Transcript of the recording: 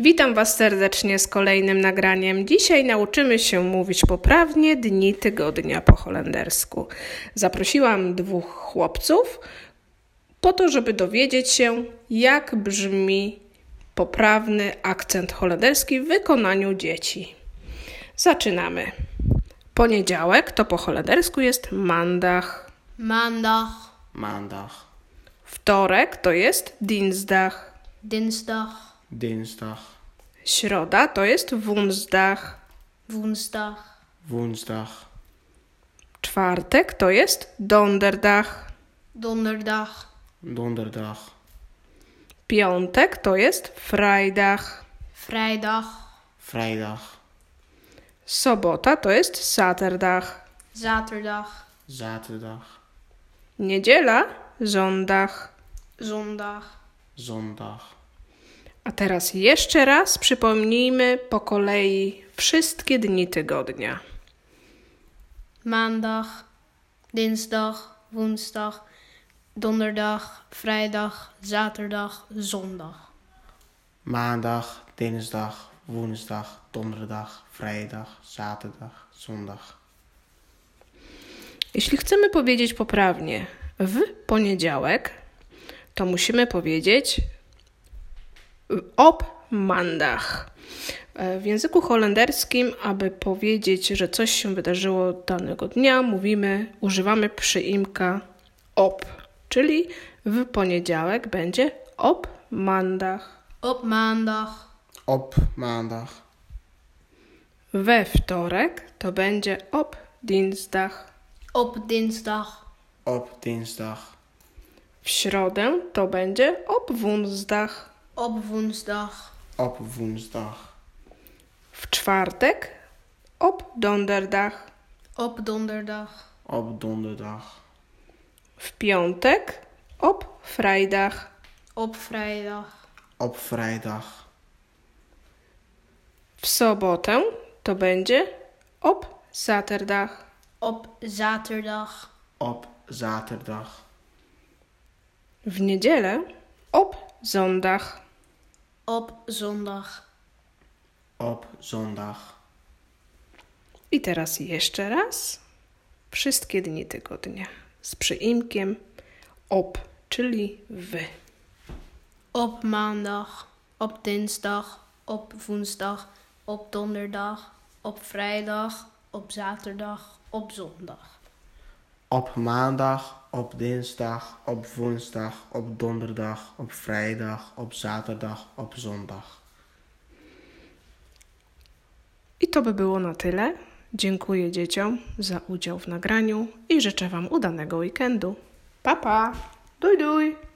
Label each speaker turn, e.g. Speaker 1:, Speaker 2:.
Speaker 1: Witam Was serdecznie z kolejnym nagraniem. Dzisiaj nauczymy się mówić poprawnie dni tygodnia po holendersku. Zaprosiłam dwóch chłopców po to, żeby dowiedzieć się, jak brzmi poprawny akcent holenderski w wykonaniu dzieci. Zaczynamy. Poniedziałek to po holendersku jest maandag.
Speaker 2: Maandag,
Speaker 3: Maandag,
Speaker 1: Wtorek to jest dinsdag.
Speaker 2: dinsdag,
Speaker 3: dinsdag,
Speaker 1: Środa to jest woensdag.
Speaker 2: woensdag,
Speaker 3: woensdag,
Speaker 1: Czwartek to jest donderdach.
Speaker 2: donderdag,
Speaker 3: donderdag,
Speaker 1: Piątek to jest frajdach.
Speaker 2: vrijdag,
Speaker 3: vrijdag,
Speaker 1: Sobota to jest saterdach.
Speaker 2: zaterdag,
Speaker 3: zaterdag,
Speaker 1: Niedziela zondach.
Speaker 2: zondag.
Speaker 3: zondag.
Speaker 1: A teraz jeszcze raz przypomnijmy po kolei wszystkie dni tygodnia.
Speaker 2: Maandag, dinsdag, woensdag, donderdag, vrijdag, zaterdag, zondag.
Speaker 3: Maandag, dinsdag, woensdag, donderdag, vrijdag, zaterdag, zondag.
Speaker 1: Jeśli chcemy powiedzieć poprawnie w poniedziałek, to musimy powiedzieć op mandach. E, W języku holenderskim, aby powiedzieć, że coś się wydarzyło danego dnia, mówimy, używamy przyimka op, czyli w poniedziałek będzie op mandach.
Speaker 2: Op maandag,
Speaker 3: Op maandag,
Speaker 1: We wtorek to będzie op dinsdag.
Speaker 2: op dinsdag,
Speaker 3: op dinsdag,
Speaker 1: W środę to będzie op woensdag.
Speaker 2: op woensdag,
Speaker 3: op woensdag,
Speaker 1: W czwartek op donderdach.
Speaker 2: op donderdag,
Speaker 3: op donderdag,
Speaker 1: W piątek op vrijdag.
Speaker 2: op vrijdag,
Speaker 3: op vrijdag,
Speaker 1: W sobotę to będzie op zaterdach.
Speaker 2: op zaterdag,
Speaker 3: op zaterdag,
Speaker 1: W niedzielę op zondag.
Speaker 2: op zondag.
Speaker 3: op zondag.
Speaker 1: I teraz jeszcze raz wszystkie dni tygodnia z przyimkiem op, czyli wy.
Speaker 2: Op maandag, op dinsdag, op woensdag, op donderdag, op vrijdag, op zaterdag, op zondag.
Speaker 3: Op maandag, op dinsdag, op woensdag, op donderdag, op vrijdag, op zaterdag, op zondag.
Speaker 1: I to by było na tyle. Dziękuję dzieciom za udział w nagraniu i życzę Wam udanego weekendu. Pa, pa! Duj, duj!